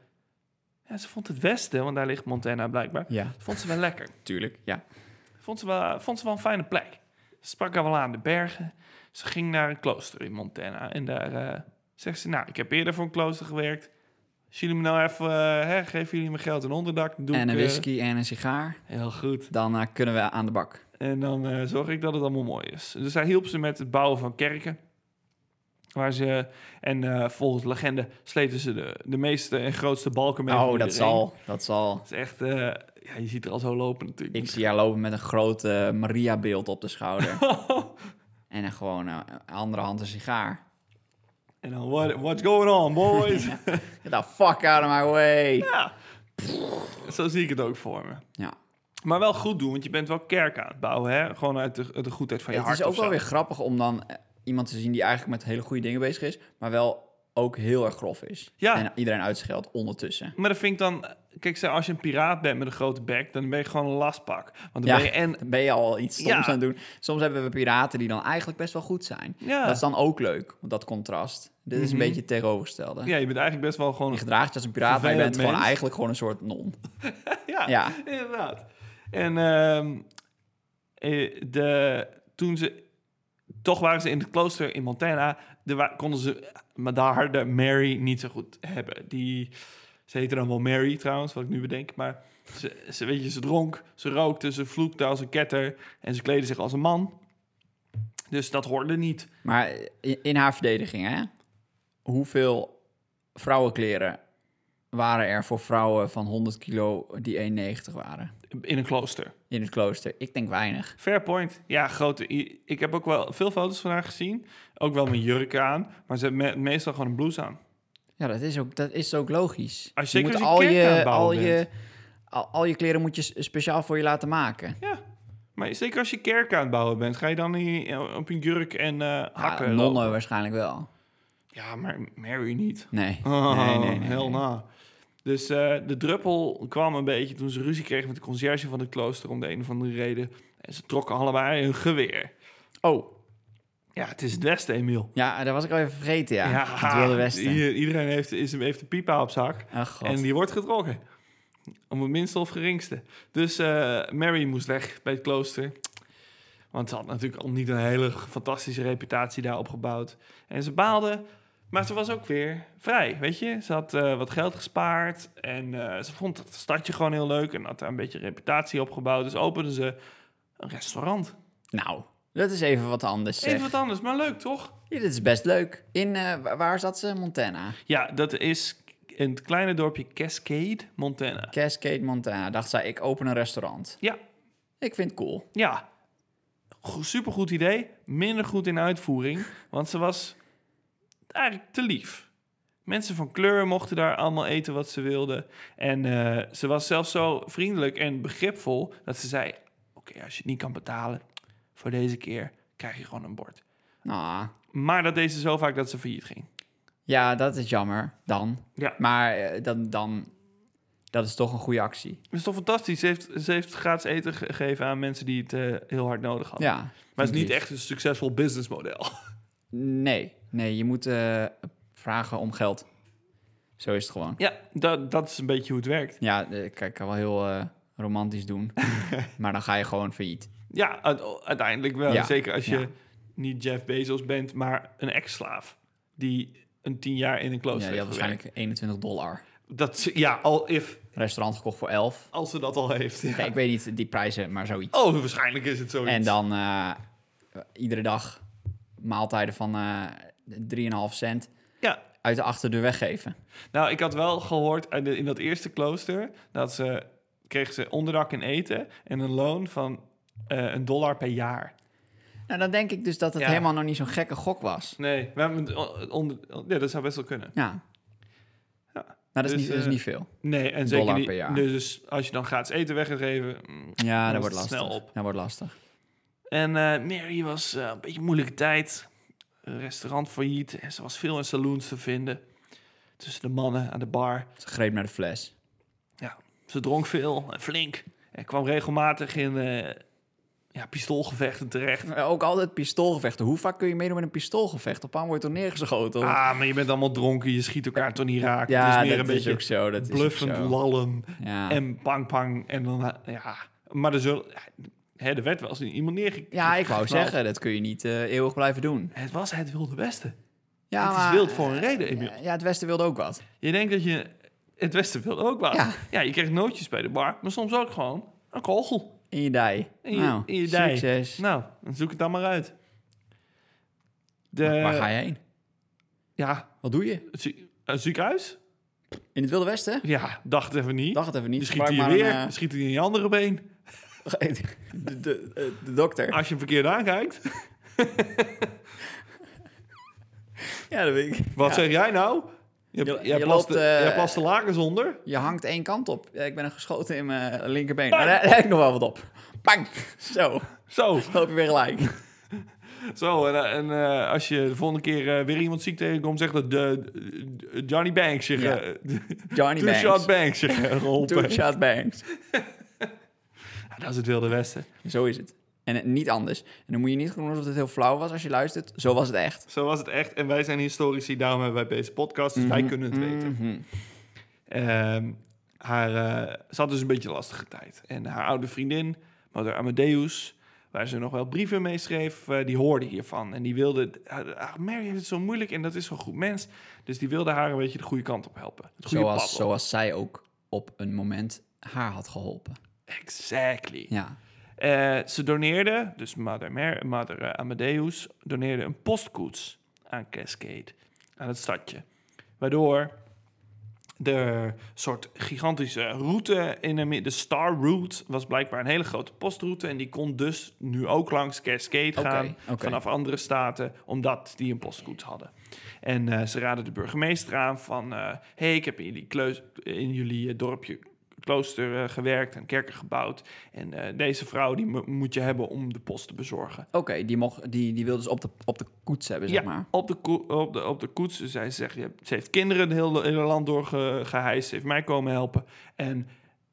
A: ja, ze vond het westen, want daar ligt Montana blijkbaar,
B: Ja,
A: vond ze wel lekker.
B: tuurlijk. Ja.
A: Vond ze wel, vond ze wel een fijne plek. Ze sprak haar wel aan de bergen. Ze ging naar een klooster in Montana. En daar eh, zegt ze, nou, ik heb eerder voor een klooster gewerkt. Als jullie me nou even, eh, hè, geven jullie me geld en onderdak. dan Doe
B: En
A: ik,
B: een
A: eh,
B: whisky en een sigaar.
A: heel goed.
B: Dan eh, kunnen we aan de bak.
A: En dan eh, zorg ik dat het allemaal mooi is. Dus hij hielp ze met het bouwen van kerken. Waar ze, en eh, volgens legende sleepten ze de, de meeste en grootste balken mee. van
B: Oh, dat
A: iedereen.
B: zal. Dat zal.
A: Het is echt, eh, ja, je ziet er al zo lopen natuurlijk.
B: Ik zie haar lopen met een groot eh, Maria-beeld op de schouder. en dan gewoon eh, andere hand een sigaar.
A: En dan, what, what's going on, boys?
B: Get the fuck out of my way.
A: ja. Zo zie ik het ook voor me.
B: Ja.
A: Maar wel goed doen, want je bent wel kerk aan het bouwen, hè? Gewoon uit de, uit de goedheid van je
B: het
A: hart
B: is ook
A: of zo.
B: wel weer grappig om dan eh, iemand te zien die eigenlijk met hele goede dingen bezig is, maar wel ook heel erg grof is.
A: Ja.
B: En iedereen uitscheldt ondertussen.
A: Maar dat vind ik dan... Kijk, zeg, als je een piraat bent met een grote bek, dan ben je gewoon een lastpak. Want dan
B: ja,
A: ben je en...
B: dan ben je al iets stoms
A: Ja.
B: aan het doen. Soms hebben we piraten die dan eigenlijk best wel goed zijn.
A: Ja. Mhm.
B: Dat is dan ook leuk, want dat contrast. Dit is een beetje het tegenovergestelde.
A: ja, je bent eigenlijk best wel gewoon...
B: Je gedraagt je als een piraat, maar je
A: Vervelend
B: bent gewoon
A: mens.
B: eigenlijk gewoon een soort non.
A: Ja,
B: Ja.
A: inderdaad. En ehm, eh, de, toen ze... Toch waren ze in het klooster in Montana. De, wa- konden ze maar daar de Mary niet zo goed hebben. Die, ze heette dan wel Mary trouwens, wat ik nu bedenk. Maar ze, ze, weet je, ze dronk, ze rookte, ze vloekte als een ketter. En ze kleedde zich als een man. Dus dat hoorde niet.
B: Maar in, in haar verdediging, hè? Hoeveel vrouwenkleren waren er voor vrouwen van 100 kilo die 1,90 waren?
A: In een klooster.
B: In het klooster. Ik denk weinig.
A: Fair point. Ja, grote. i- Ik heb ook wel veel foto's van haar gezien. Ook wel mijn jurk aan. Maar ze heeft me- meestal gewoon een blouse aan.
B: Ja, dat is ook, dat is ook logisch.
A: Als je- zeker als je
B: al
A: kerk aan het
B: je, al,
A: bouwen
B: je, al, al je kleren moet je s- speciaal voor je laten maken.
A: Ja. Maar zeker als je kerk aan het bouwen bent, ga je dan hier op een jurk en eh, hakken.
B: Ja,
A: lopen?
B: nonnen waarschijnlijk wel.
A: Ja, maar Mary niet.
B: Nee.
A: Oh,
B: nee, nee, nee,
A: heel
B: nee.
A: na. Dus eh, de druppel kwam een beetje toen ze ruzie kreeg met de conciërge van het klooster om de een of andere reden. En ze trokken allebei een geweer.
B: Oh,
A: Ja, het is het Westen, Emiel.
B: ja, dat was ik al even vergeten, ja. het Wilde Westen.
A: i- Iedereen heeft, is, heeft een pipa op zak.
B: Ach, god.
A: En die wordt getrokken. Om het minste of geringste. Dus eh, Mary moest weg bij het klooster. Want ze had natuurlijk al niet een hele fantastische reputatie daar opgebouwd. En ze baalde, maar ze was ook weer vrij, weet je. Ze had eh, wat geld gespaard en eh, ze vond het stadje gewoon heel leuk... en had daar een beetje reputatie opgebouwd. Dus opende ze een restaurant.
B: Nou, dat is even wat anders, zeg.
A: Even wat anders, maar leuk toch?
B: Ja, dit is best leuk. In, eh, wa- waar zat ze? Montana.
A: Ja, dat is in het kleine dorpje Cascade, Montana.
B: Cascade, Montana. Dacht zij, ik open een restaurant.
A: Ja,
B: Ik vind het cool.
A: Ja, go- supergoed idee. Minder goed in uitvoering, want ze was eigenlijk te lief. Mensen van kleur mochten daar allemaal eten wat ze wilden. En eh, ze was zelfs zo vriendelijk en begripvol dat ze zei: Oké, als je het niet kan betalen voor deze keer, krijg je gewoon een bord.
B: Ah,
A: Maar dat deed ze zo vaak dat ze failliet ging.
B: ja, dat is jammer dan.
A: Ja.
B: Maar eh, dan, dan, dat is toch een goede actie.
A: Dat is toch fantastisch? Ze heeft, ze heeft gratis eten ge- gegeven aan mensen die het eh, heel hard nodig hadden.
B: Ja.
A: maar het
B: vind
A: is
B: ik
A: niet
B: lief.
A: echt een succesvol businessmodel.
B: Nee, nee, je moet eh, vragen om geld. Zo is het gewoon.
A: ja, dat, dat is een beetje hoe het werkt.
B: Ja, eh, kijk, ik kan wel heel eh, romantisch doen. maar dan ga je gewoon failliet.
A: Ja, uite- uiteindelijk wel.
B: Ja,
A: Zeker als je
B: ja.
A: niet Jeff Bezos bent, maar een ex-slaaf die een tien jaar in een klooster
B: Ja, je had
A: heeft gewerkt.
B: waarschijnlijk 21 dollar.
A: Dat, ze- ja, al if,
B: Restaurant gekocht voor 11.
A: als ze dat al heeft. ja.
B: Kijk, ik weet niet die prijzen, maar zoiets.
A: Oh, waarschijnlijk is het zoiets.
B: En dan eh, iedere dag maaltijden van eh 3,5 cent
A: Ja,
B: uit de achterdeur weggeven.
A: nou, ik had wel gehoord uit de- in dat eerste klooster dat ze kreeg ze onderdak en eten en een loon van eh, een dollar per jaar.
B: Nou, dan denk ik dus dat het
A: Ja.
B: helemaal nog niet zo'n gekke gok was.
A: Nee, we hebben het on- onder, ja, dat zou best wel kunnen.
B: Ja.
A: Ja.
B: Nou, dat is,
A: Dus,
B: niet, dat is
A: eh,
B: niet veel.
A: Nee, en
B: Dollar
A: zeker niet.
B: per jaar.
A: Dus als je dan gratis eten weggegeven, mm,
B: Ja, dat
A: dan
B: wordt
A: is het
B: lastig.
A: snel op.
B: Dat wordt lastig.
A: En eh, Mary was eh, een beetje een moeilijke tijd. Een restaurant failliet. En ze was veel in saloons te vinden. Tussen de mannen aan de bar.
B: Ze greep naar de fles.
A: Ja, ze dronk veel en flink. En kwam regelmatig in eh, ja, pistoolgevechten terecht.
B: Eh, Ook altijd pistoolgevechten. Hoe vaak kun je meedoen met een pistoolgevecht? Op aan wordt er neergeschoten.
A: Ah, maar je bent allemaal dronken. Je schiet elkaar toch niet raak.
B: ja,
A: het is meer
B: dat
A: een
B: is
A: beetje
B: ook zo. Dat
A: bluffend
B: is ook zo.
A: lallen.
B: Ja.
A: En pang pang. En dan, eh, ja. Maar er, zullen, hè, er werd wel eens iemand neergekeken.
B: ja, ik wou zeggen, dat kun je niet eh, eeuwig blijven doen.
A: Het was het wilde westen.
B: Ja,
A: het
B: maar- eh,
A: is wild voor een reden, Emiel.
B: Ja, het Westen wilde ook wat.
A: Je denkt dat je het Westen wilde ook wel.
B: Ja.
A: Ja. je krijgt nootjes bij de bar, maar soms ook gewoon een kogel.
B: In je dij.
A: In je,
B: nou,
A: in je dij.
B: Succes.
A: Nou, dan zoek het dan maar uit. De,
B: Waar ga je heen?
A: Ja,
B: Wat doe je?
A: het zie- een ziekenhuis?
B: In het Wilde Westen?
A: Ja, dacht even niet.
B: Dacht het even
A: Dan
B: niet.
A: schiet hij je
B: Gebruik
A: weer,
B: maar
A: dan
B: een,
A: schiet hij in je andere been.
B: eh, de, de, eh, de dokter.
A: Als je hem verkeerd aankijkt.
B: Ja, dat weet ik.
A: Wat
B: Ja.
A: zeg jij nou? Je,
B: Je-
A: jij
B: je
A: plast
B: loopt,
A: de,
B: eh,
A: jij plast de lakens onder.
B: Je hangt één kant op. Ja, ik ben er geschoten in mijn linkerbeen. Maar daar, daar heb ik nog wel wat op. Bang! Zo,
A: Zo,
B: loop je weer gelijk.
A: zo. En, eh, en eh, als je de volgende keer eh, weer iemand ziek tegenkomt, zeg dat de, de- Johnny Banks je
B: Ja.
A: ge-
B: Johnny
A: Two Shot
B: Banks.
A: Banks eh, je ge-
B: Two
A: geholpen.
B: shot Banks.
A: Ja, dat is het Wilde Westen.
B: Zo is het. En eh, niet anders. En dan moet je niet doen alsof het heel flauw was als je luistert. Zo was het echt.
A: Zo was het echt. En wij zijn historici, daarom hebben wij deze podcast. Dus wij kunnen het weten.
B: Mhm.
A: Ehm, haar, eh, ze had dus een beetje een lastige tijd. En haar oude vriendin, Mother Amadeus, waar ze nog wel brieven mee schreef, eh, die hoorde hiervan. En die wilde, ah, Mary heeft het zo moeilijk en dat is zo'n goed mens. Dus die wilde haar een beetje de goede kant op helpen. Het goede
B: Zoals,
A: pad op.
B: zoals zij ook op een moment haar had geholpen.
A: Exactly.
B: Ja.
A: Eh, ze doneerde, dus Mother, Mer- Mother eh, Amadeus, doneerde een postkoets aan Cascade, aan het stadje. Waardoor de soort gigantische route in Ameri- de Star Route was blijkbaar een hele grote postroute en die kon dus nu ook langs Cascade
B: Oké,
A: gaan
B: oké.
A: vanaf andere staten, omdat die een postkoets hadden. En eh, ze raadden de burgemeester aan van, eh, hey, ik heb in jullie, kleus- in jullie eh, dorpje klooster eh, gewerkt en kerken gebouwd. En eh, deze vrouw die mo- moet je hebben om de post te bezorgen.
B: Oké, die, mocht, die, die wilde dus op de, op de koets hebben, zeg maar.
A: op de, ko- op, de, op de koets. Dus zij zegt, je hebt- ze heeft kinderen het hele, hele land doorgeheist. Ze heeft mij komen helpen. En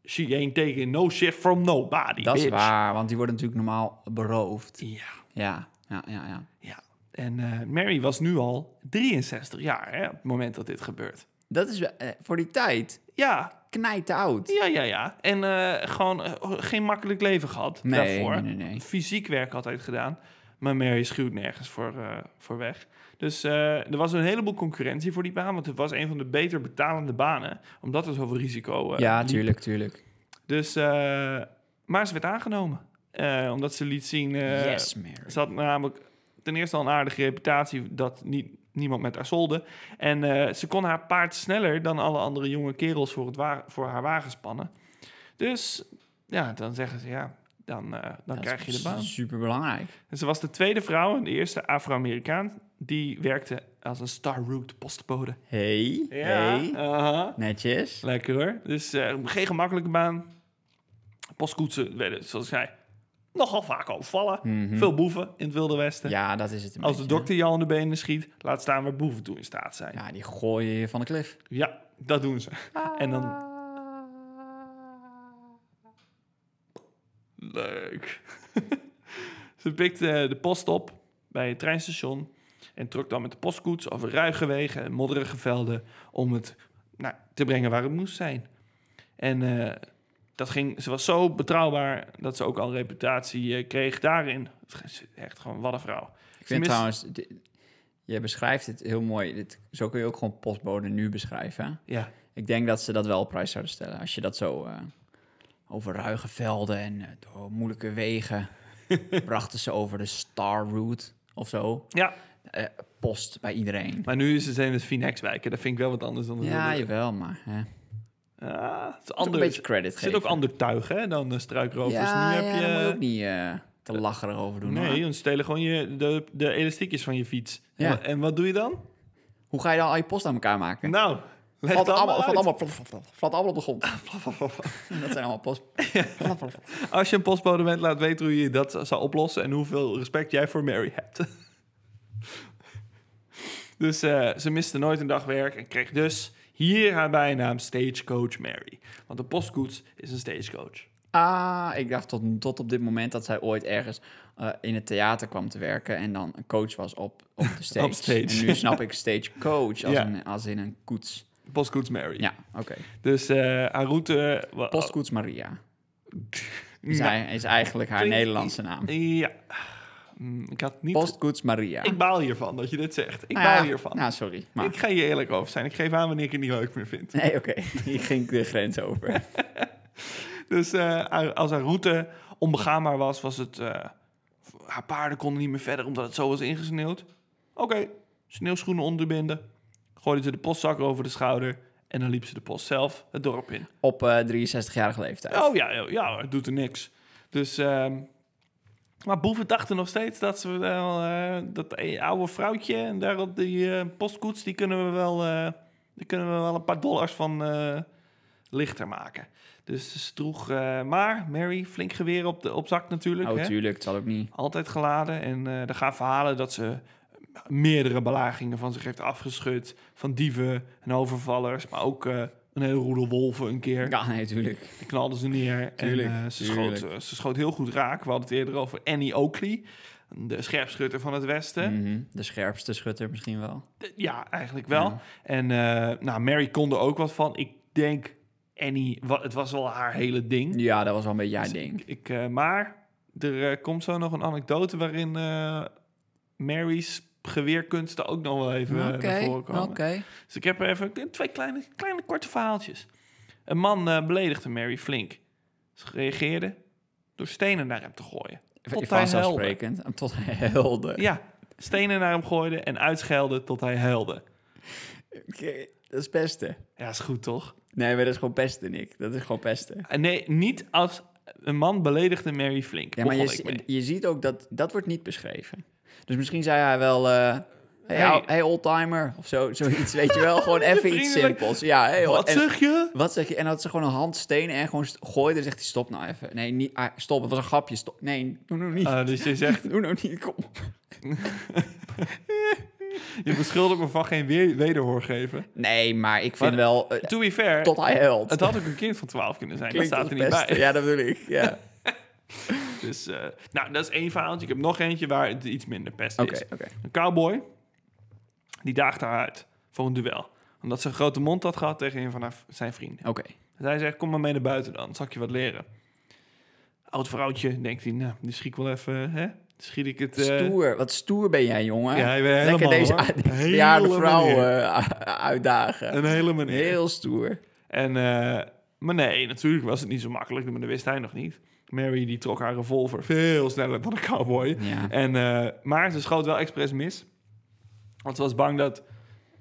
A: she ain't taking no shit from nobody,
B: Dat is
A: bitch.
B: waar, want die worden natuurlijk normaal beroofd.
A: Ja,
B: Ja, ja, ja, ja.
A: ja. En eh, Mary was nu al 63 jaar, hè, op het moment dat dit gebeurt.
B: Dat is wel- eh, voor die tijd
A: Ja,
B: knijt oud.
A: ja, ja, ja. En eh, gewoon eh, geen makkelijk leven gehad
B: Nee,
A: daarvoor.
B: nee, nee, nee.
A: fysiek werk altijd gedaan. Maar Mary schuwt nergens voor, eh, voor weg. Dus eh, er was een heleboel concurrentie voor die baan. Want het was een van de beter betalende banen. Omdat er zoveel risico eh
B: Ja,
A: liep.
B: tuurlijk, tuurlijk.
A: Dus, eh, maar ze werd aangenomen. Eh, omdat ze liet zien... eh,
B: yes, Mary.
A: Ze had namelijk ten eerste al een aardige reputatie... dat niet, niemand met haar solde. En eh, ze kon haar paard sneller dan alle andere jonge kerels... voor, het wa- voor haar wagen spannen. Dus ja, dan zeggen ze ja... Dan, eh, dan krijg je de baan.
B: Super belangrijk.
A: En ze was de tweede vrouw en de eerste Afro-Amerikaan die werkte als een Star Route postbode.
B: Hey, hey.
A: aha.
B: Netjes.
A: Lekker hoor. Dus eh, geen gemakkelijke baan. Postkoetsen werden, zoals ik zei, nogal vaak overvallen. Veel boeven in het Wilde Westen.
B: Mhm. Ja, dat is het een
A: als de
B: beetje,
A: dokter jou aan de benen schiet, laat staan waar boeven toe in staat zijn.
B: hè.
A: Ja,
B: Ja, die gooien je van de klif.
A: dat doen ze.
B: Ah.
A: En dan... Leuk. ze pikte de post op bij het treinstation en trok dan met de postkoets over ruige wegen en modderige velden om het nou, te brengen waar het moest zijn. En eh, dat ging, ze was zo betrouwbaar dat ze ook al reputatie eh, kreeg daarin. Echt gewoon wat een vrouw.
B: Ik vind
A: Tenminste-
B: trouwens, dit- je beschrijft het heel mooi. Dit, zo kun je ook gewoon postbode nu beschrijven. hè?
A: Ja,
B: Ik denk dat ze dat wel op prijs zouden stellen. Als je dat zo eh, over ruige velden en eh, door moeilijke wegen brachten ze over de Star Route of zo.
A: ja.
B: Eh, post bij iedereen.
A: maar nu is ze in het Finex-wijken. Dat vind ik wel wat anders dan... de
B: Ja,
A: wilde-
B: jawel, maar hè. Moet
A: Ah, het is
B: ook een
A: anders.
B: beetje credit
A: Er
B: geven.
A: zit ook ander tuig hè, dan de struikrovers.
B: Ja,
A: nu
B: ja,
A: heb je...
B: daar moet je ook niet eh, te lacherig over doen.
A: Nee,
B: hoor.
A: dan stelen gewoon je, de, de elastiekjes van je fiets.
B: Ja.
A: En, wa- en wat doe je dan?
B: Hoe ga je dan al je post aan elkaar maken?
A: Nou, leg
B: valt,
A: het allemaal,
B: allemaal,
A: uit.
B: valt, allemaal, valt allemaal op de grond. dat zijn allemaal post.
A: Als je een postbode bent, laat weten hoe je dat zou oplossen... en hoeveel respect jij voor Mary hebt. dus eh, ze miste nooit een dag werk en kreeg dus hier haar bijnaam Stagecoach Mary. Want een postkoets is een stagecoach.
B: Ah, ik dacht tot, tot op dit moment dat zij ooit ergens eh, in het theater kwam te werken en dan een coach was op, op de stage.
A: Op stage.
B: En nu snap ik stagecoach als,
A: Ja.
B: een, als in een koets.
A: Postkoets Mary.
B: Ja, oké.
A: Dus eh, haar route... eh, wa-
B: Postkoets Maria is,
A: Nou,
B: ei- is eigenlijk haar
A: Klinkt-
B: Nederlandse naam.
A: ja. Mm, Ik had niet...
B: Postkoets Maria.
A: Ik baal hiervan dat je dit zegt. Ik
B: Nou ja,
A: baal hiervan.
B: Nou, sorry. Maar.
A: Ik ga je eerlijk over zijn. Ik geef aan wanneer ik het niet leuk meer vind.
B: Nee, oké. Hier ging de grens over.
A: Dus eh, haar- als haar route onbegaanbaar was, was het... eh, haar paarden konden niet meer verder omdat het zo was ingesneeuwd. Oké, sneeuwschoenen onderbinden. gooiden ze de postzak over de schouder en dan liep ze de post zelf het dorp in.
B: Op eh, 63-jarige leeftijd.
A: Oh ja, ja, ja, het doet er niks. Dus, ehm, maar boeven dachten nog steeds dat ze wel, eh, dat e- oude vrouwtje en daar op die eh, postkoets, die kunnen we wel, eh die kunnen we wel een paar dollars van eh, lichter maken. Dus ze droeg, eh, maar Mary, flink geweer op, de, op zak natuurlijk.
B: Oh,
A: hè?
B: tuurlijk, het zal ook niet.
A: Altijd geladen. En eh er gaan verhalen dat ze eh, meerdere belagingen van zich heeft afgeschud. Van dieven en overvallers. Maar ook eh, een hele roedel wolven een keer.
B: Ja, nee, tuurlijk.
A: Die knalden ze neer.
B: Tuurlijk,
A: en eh, ze,
B: tuurlijk.
A: schoot, eh, ze schoot heel goed raak. We hadden het eerder over Annie Oakley. De scherpschutter van het Westen.
B: Mhm, De scherpste schutter misschien wel.
A: D- Ja, eigenlijk wel. En eh, nou, Mary kon er ook wat van. Ik denk Annie, wa- het was wel haar hele ding.
B: Ja, dat was wel een beetje jouw
A: Dus
B: ding.
A: Ik, ik, eh, maar er eh, komt zo nog een anekdote waarin eh, Mary's geweerkunsten ook nog wel even eh, naar voren komen. Dus ik heb er even twee kleine, kleine korte verhaaltjes. Een man eh, beledigde Mary flink. Ze reageerde door stenen naar hem te gooien. Tot hij huilde.
B: Vanzelfsprekend. En Tot hij helder.
A: Ja, stenen naar hem gooide en uitschelde tot hij huilde.
B: Dat is pesten.
A: Ja, is goed toch?
B: Nee, maar dat is gewoon pesten, Nick. Dat is gewoon pesten.
A: Eh, Nee, niet als een man beledigde Mary flink.
B: Ja, maar je,
A: Begon ik
B: zi-
A: mee.
B: je ziet ook dat dat wordt niet beschreven. Dus misschien zei hij wel. eh hey,
A: Hey.
B: ou- hey, oldtimer. Of zo, zoiets. Weet je wel. Gewoon even iets
A: Vriendelijk.
B: simpels. Ja, hey,
A: Wat
B: Oh, en-
A: zeg je?
B: Wat zeg je? En dan had ze gewoon een handsteen en gewoon st- gooide. En zegt hij: Stop nou even. Nee, niet, ah, stop. Het was een grapje. Stop. Nee, doe nou niet.
A: Ah, dus je zegt,
B: Doe nou niet. Kom.
A: je beschuldigt me van geen weer- wederhoor geven.
B: Nee, maar ik vind
A: Maar-
B: wel. eh,
A: To be fair,
B: tot hij huilt.
A: het had ook een kind van 12 kunnen zijn.
B: Klinkt
A: dat staat er
B: als
A: niet
B: pesten.
A: bij.
B: Ja, dat bedoel ik. Ja.
A: Dus, eh, nou, dat is één verhaaltje. Ik heb nog eentje waar het iets minder pest
B: Oké,
A: is.
B: oké.
A: Een cowboy, die daagde haar uit voor een duel. Omdat ze een grote mond had gehad tegen een van haar, zijn vrienden.
B: Oké.
A: Dus hij zegt, kom maar mee naar buiten dan, zal ik je wat leren. Oud vrouwtje, denkt hij, nou, die schiet ik wel even, hè? Schiet ik het... eh,
B: Stoer. Wat stoer ben jij, jongen.
A: Ja, hij ben
B: Lekker
A: helemaal,
B: deze,
A: hoor.
B: deze bejaarde
A: Hele
B: vrouw
A: meneer.
B: eh, uitdagen.
A: Een hele manier.
B: Heel stoer.
A: En, eh, maar nee, natuurlijk was het niet zo makkelijk, maar dat wist hij nog niet. Mary die trok haar revolver veel sneller dan een cowboy.
B: Ja.
A: En, eh, maar ze schoot wel expres mis. Want ze was bang dat...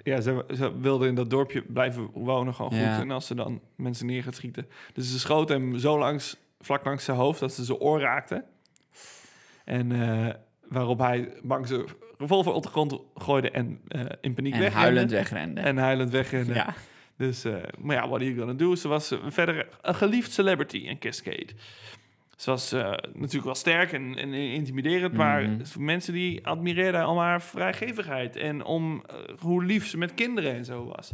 A: Ja, ze, ze wilde in dat dorpje blijven wonen gewoon goed.
B: Ja.
A: En als ze dan mensen neer gaat schieten. Dus ze schoot hem zo langs, vlak langs zijn hoofd dat ze zijn oor raakte. En eh, waarop hij bang zijn revolver op de grond gooide en eh, in paniek
B: En
A: wegrende.
B: huilend wegrende.
A: En huilend wegrende.
B: ja.
A: Dus, eh, maar ja, what are you gonna do? Ze was eh, verder een geliefd celebrity in Cascade. Ze was eh, natuurlijk wel sterk en, en intimiderend, maar
B: Mhm.
A: mensen die admireerden om haar vrijgevigheid en om eh, hoe lief ze met kinderen en zo was.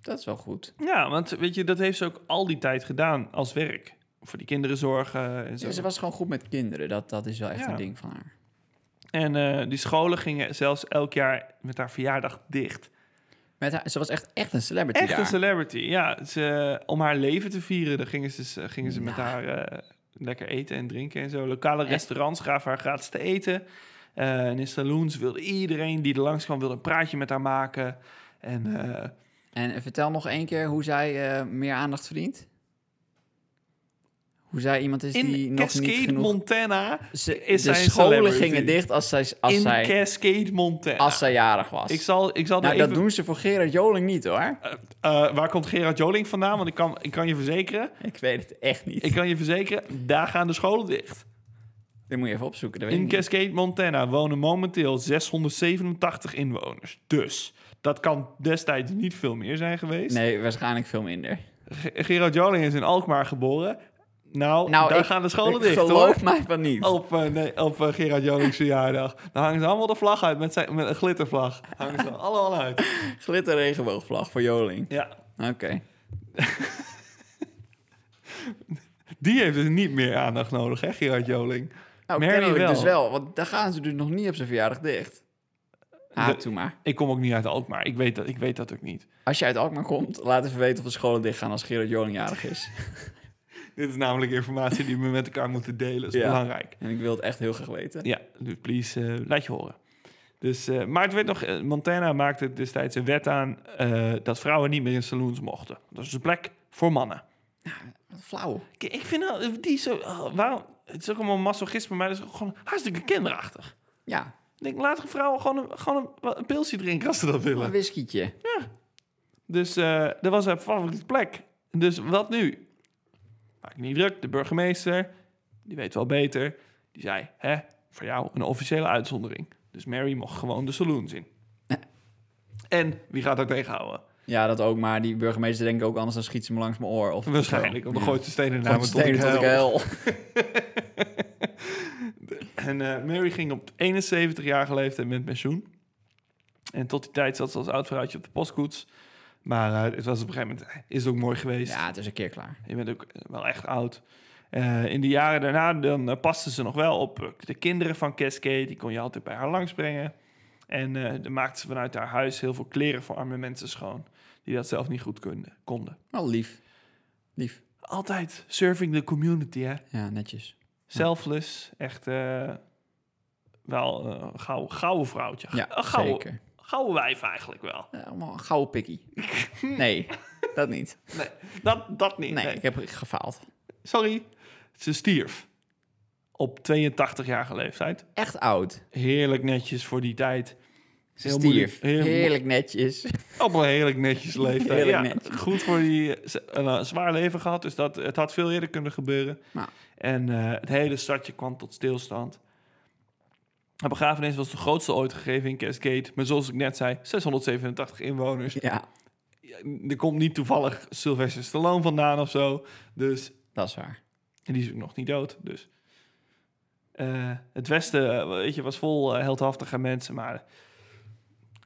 B: Dat is wel goed.
A: Ja, want weet je, dat heeft ze ook al die tijd gedaan als werk. Voor die kinderen zorgen en zo.
B: Ja, ze was gewoon goed met kinderen. Dat, dat is wel echt
A: Ja.
B: een ding van haar.
A: En eh, die scholen gingen zelfs elk jaar met haar verjaardag dicht.
B: Met haar, ze was echt, echt een celebrity
A: Echt
B: daar.
A: een celebrity, ja. Ze, om haar leven te vieren, dan gingen ze, gingen ze met
B: Nou.
A: haar eh, lekker eten en drinken en zo. Lokale restaurants gaven haar gratis te eten. Eh, en in saloons wilde iedereen die er langs kwam, wilde een praatje met haar maken. En eh,
B: En eh, vertel nog één keer hoe zij eh, meer aandacht verdient. Hoe zij iemand is die
A: in
B: nog niet
A: Cascade,
B: genoeg...
A: Montana.
B: ze,
A: is
B: de
A: zij een
B: scholen
A: celebrity.
B: gingen dicht als zij, als
A: in
B: zij,
A: Cascade, Montana.
B: als zij jarig was.
A: ik zal, ik zal
B: nou,
A: er
B: dat
A: even...
B: doen ze voor Gerard Joling niet, hoor.
A: Eh, eh, waar komt Gerard Joling vandaan? Want ik kan, ik kan je verzekeren,
B: Ik weet het echt niet.
A: ik kan je verzekeren, daar gaan de scholen dicht.
B: Dit moet je even opzoeken. Dat weet
A: In
B: ik niet.
A: Cascade, Montana wonen momenteel 687 inwoners. Dus dat kan destijds niet veel meer zijn geweest.
B: Nee, waarschijnlijk veel minder.
A: Ge- Gerard Joling is in Alkmaar geboren. Nou,
B: Nou,
A: daar
B: ik-
A: gaan de scholen
B: ik
A: dicht,
B: geloof mij van niet.
A: hoor. Op, eh, nee, op eh, Gerard Joling's verjaardag. Dan hangen ze allemaal de vlag uit met, zijn, met een glittervlag. Hangen ze allemaal uit.
B: Glitter regenboogvlag voor Joling.
A: Ja,
B: Oké.
A: die heeft dus niet meer aandacht nodig, hè, Gerard Joling.
B: Nou,
A: Mary
B: kennelijk
A: wel.
B: dus wel. Want daar gaan ze dus nog niet op zijn verjaardag dicht. Ah,
A: De-
B: toe maar.
A: Ik kom ook niet uit Alkmaar. Ik weet dat, ik weet dat ook niet.
B: Als je uit Alkmaar komt, laat even weten of de scholen dicht gaan als Gerard Joling jarig is.
A: Dit is namelijk informatie die we met elkaar moeten delen. Dat is
B: Ja.
A: belangrijk.
B: en ik wil het echt heel graag weten.
A: Ja, dus please, eh, laat je horen. Dus, eh, maar het werd nog, eh, Montana maakte destijds een wet aan eh, dat vrouwen niet meer in saloons mochten. Dat is een plek voor mannen.
B: Wat Flauw.
A: Ik, ik vind dat, die zo, oh, waarom, het is ook allemaal masochisme, maar dat is ook gewoon hartstikke kinderachtig.
B: Ja.
A: Ik denk, laat een vrouw gewoon een, gewoon een, een pilsje drinken als ze dat willen.
B: Een whiskietje.
A: Dus eh, dat was haar favoriete plek. Dus wat nu? Maak je niet druk. De burgemeester, die weet wel beter, die zei: hè, voor jou een officiële uitzondering. Dus Mary mocht gewoon de saloons in. En wie gaat daar tegenhouden?
B: Ja, dat ook. Maar die burgemeester denkt ook anders dan schiet ze me langs mijn oor. Of
A: Nou, Waarschijnlijk, want dan
B: Ja.
A: gooit ze stenen naar
B: Van
A: me tot
B: stenen
A: ik
B: tot ik
A: huil.
B: huil.
A: En eh, Mary ging op 71-jarige leeftijd met pensioen. En tot die tijd zat ze als oud vrouwtje op de postkoets. Maar eh, het was op een gegeven moment is het ook mooi geweest.
B: Ja, het is een keer klaar.
A: Je bent ook wel echt oud. Eh, in de jaren daarna dan, eh, paste ze nog wel op eh, de kinderen van Cascade. Die kon je altijd bij haar langsbrengen. En eh dan maakte ze vanuit haar huis heel veel kleren voor arme mensen schoon. Die dat zelf niet goed konden. konden.
B: Wel lief. Lief.
A: Altijd serving the community, hè?
B: Ja, netjes.
A: Selfless. Echt eh, wel eh, een gouden, gouden vrouwtje.
B: Ja,
A: Een gouden,
B: zeker.
A: gouden wijf eigenlijk wel.
B: Ja, allemaal een gouden pikkie. Nee, dat niet.
A: Nee, dat, dat niet.
B: Nee,
A: nee.
B: ik heb gefaald.
A: Sorry. Ze stierf. Op 82-jarige leeftijd.
B: Echt oud.
A: Heerlijk netjes voor die tijd.
B: Ze
A: Heel
B: stierf.
A: moeilijk. Heel moe-
B: Heerlijk netjes.
A: Op een heerlijk netjes leven.
B: Heerlijk
A: ja,
B: netjes.
A: Goed voor die... ze- Een, eh, zwaar leven gehad, dus dat, het had veel eerder kunnen gebeuren.
B: Nou.
A: En eh, het hele stadje kwam tot stilstand. Haar begrafenis was de grootste ooit gegeven in Cascade. Maar zoals ik net zei, 687 inwoners.
B: Ja,
A: Ja, Er komt niet toevallig Sylvester Stallone vandaan of zo. Dus
B: dat is waar.
A: en die is ook nog niet dood, dus... Eh, het Westen, eh, weet je, was vol eh, heldhaftige mensen, maar... er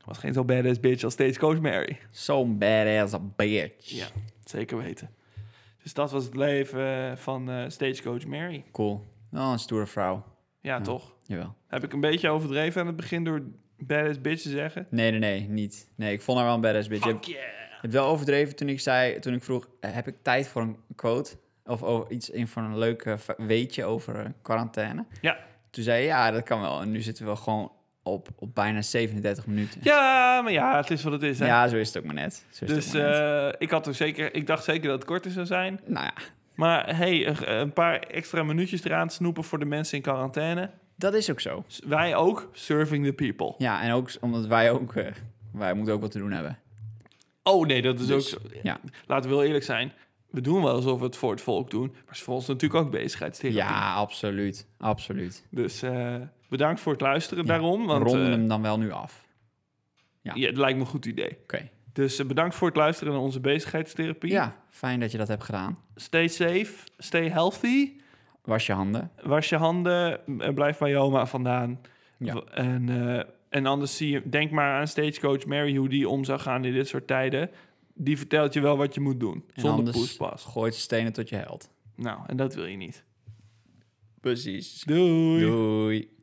A: was geen zo badass bitch als stagecoach Mary.
B: Zo'n badass bitch.
A: Ja. Zeker weten. Dus dat was het leven eh, van eh, stagecoach Mary.
B: Cool. Wel een stoere vrouw.
A: Ja, toch?
B: Jawel.
A: Heb ik een beetje overdreven aan het begin door badass bitch te zeggen?
B: Nee, nee, nee, niet. Nee, ik vond haar wel een badass bitch. Je
A: Fuck
B: hebt,
A: yeah!
B: je hebt wel overdreven toen ik zei, toen ik vroeg, eh, heb ik tijd voor een quote? Of over iets in voor een leuk eh, fa- weetje over eh, quarantaine?
A: Ja.
B: Toen zei je, ja, dat kan wel. En nu zitten we gewoon op, op bijna 37 minuten.
A: Ja, maar ja, het is wat het is, hè?
B: Ja, zo is het ook maar net. Zo is het
A: Dus
B: ook maar
A: eh,
B: net.
A: ik, had er zeker, ik dacht zeker dat het korter zou zijn.
B: Nou ja,
A: Maar hey, eh, een paar extra minuutjes eraan snoepen voor de mensen in quarantaine.
B: dat is ook zo.
A: S- Wij ook, serving the people.
B: Ja, en ook s- omdat wij ook, eh, wij moeten ook wat te doen hebben.
A: Oh nee, dat is
B: Dus,
A: ook zo.
B: ja.
A: Laten we wel eerlijk zijn. We doen wel alsof we het voor het volk doen. Maar het is voor ons natuurlijk ook bezigheidstherapie.
B: Ja, absoluut. Absoluut.
A: Dus eh, bedankt voor het luisteren
B: Ja,
A: daarom. Want
B: Ronden
A: eh,
B: hem dan wel nu af. ja.
A: ja, het lijkt me een goed idee.
B: Oké.
A: Dus eh, bedankt voor het luisteren naar onze bezigheidstherapie.
B: Ja, fijn dat je dat hebt gedaan.
A: Stay safe, stay healthy.
B: Was je handen.
A: Was je handen, eh, blijf bij je oma vandaan.
B: Ja.
A: W- En, eh, en anders zie je, denk maar aan stagecoach Mary hoe die om zou gaan in dit soort tijden. Die vertelt je wel wat je moet doen.
B: En
A: zonder
B: anders
A: poespas.
B: gooit stenen tot je held.
A: Nou, en dat wil je niet.
B: Precies.
A: Doei.
B: Doei.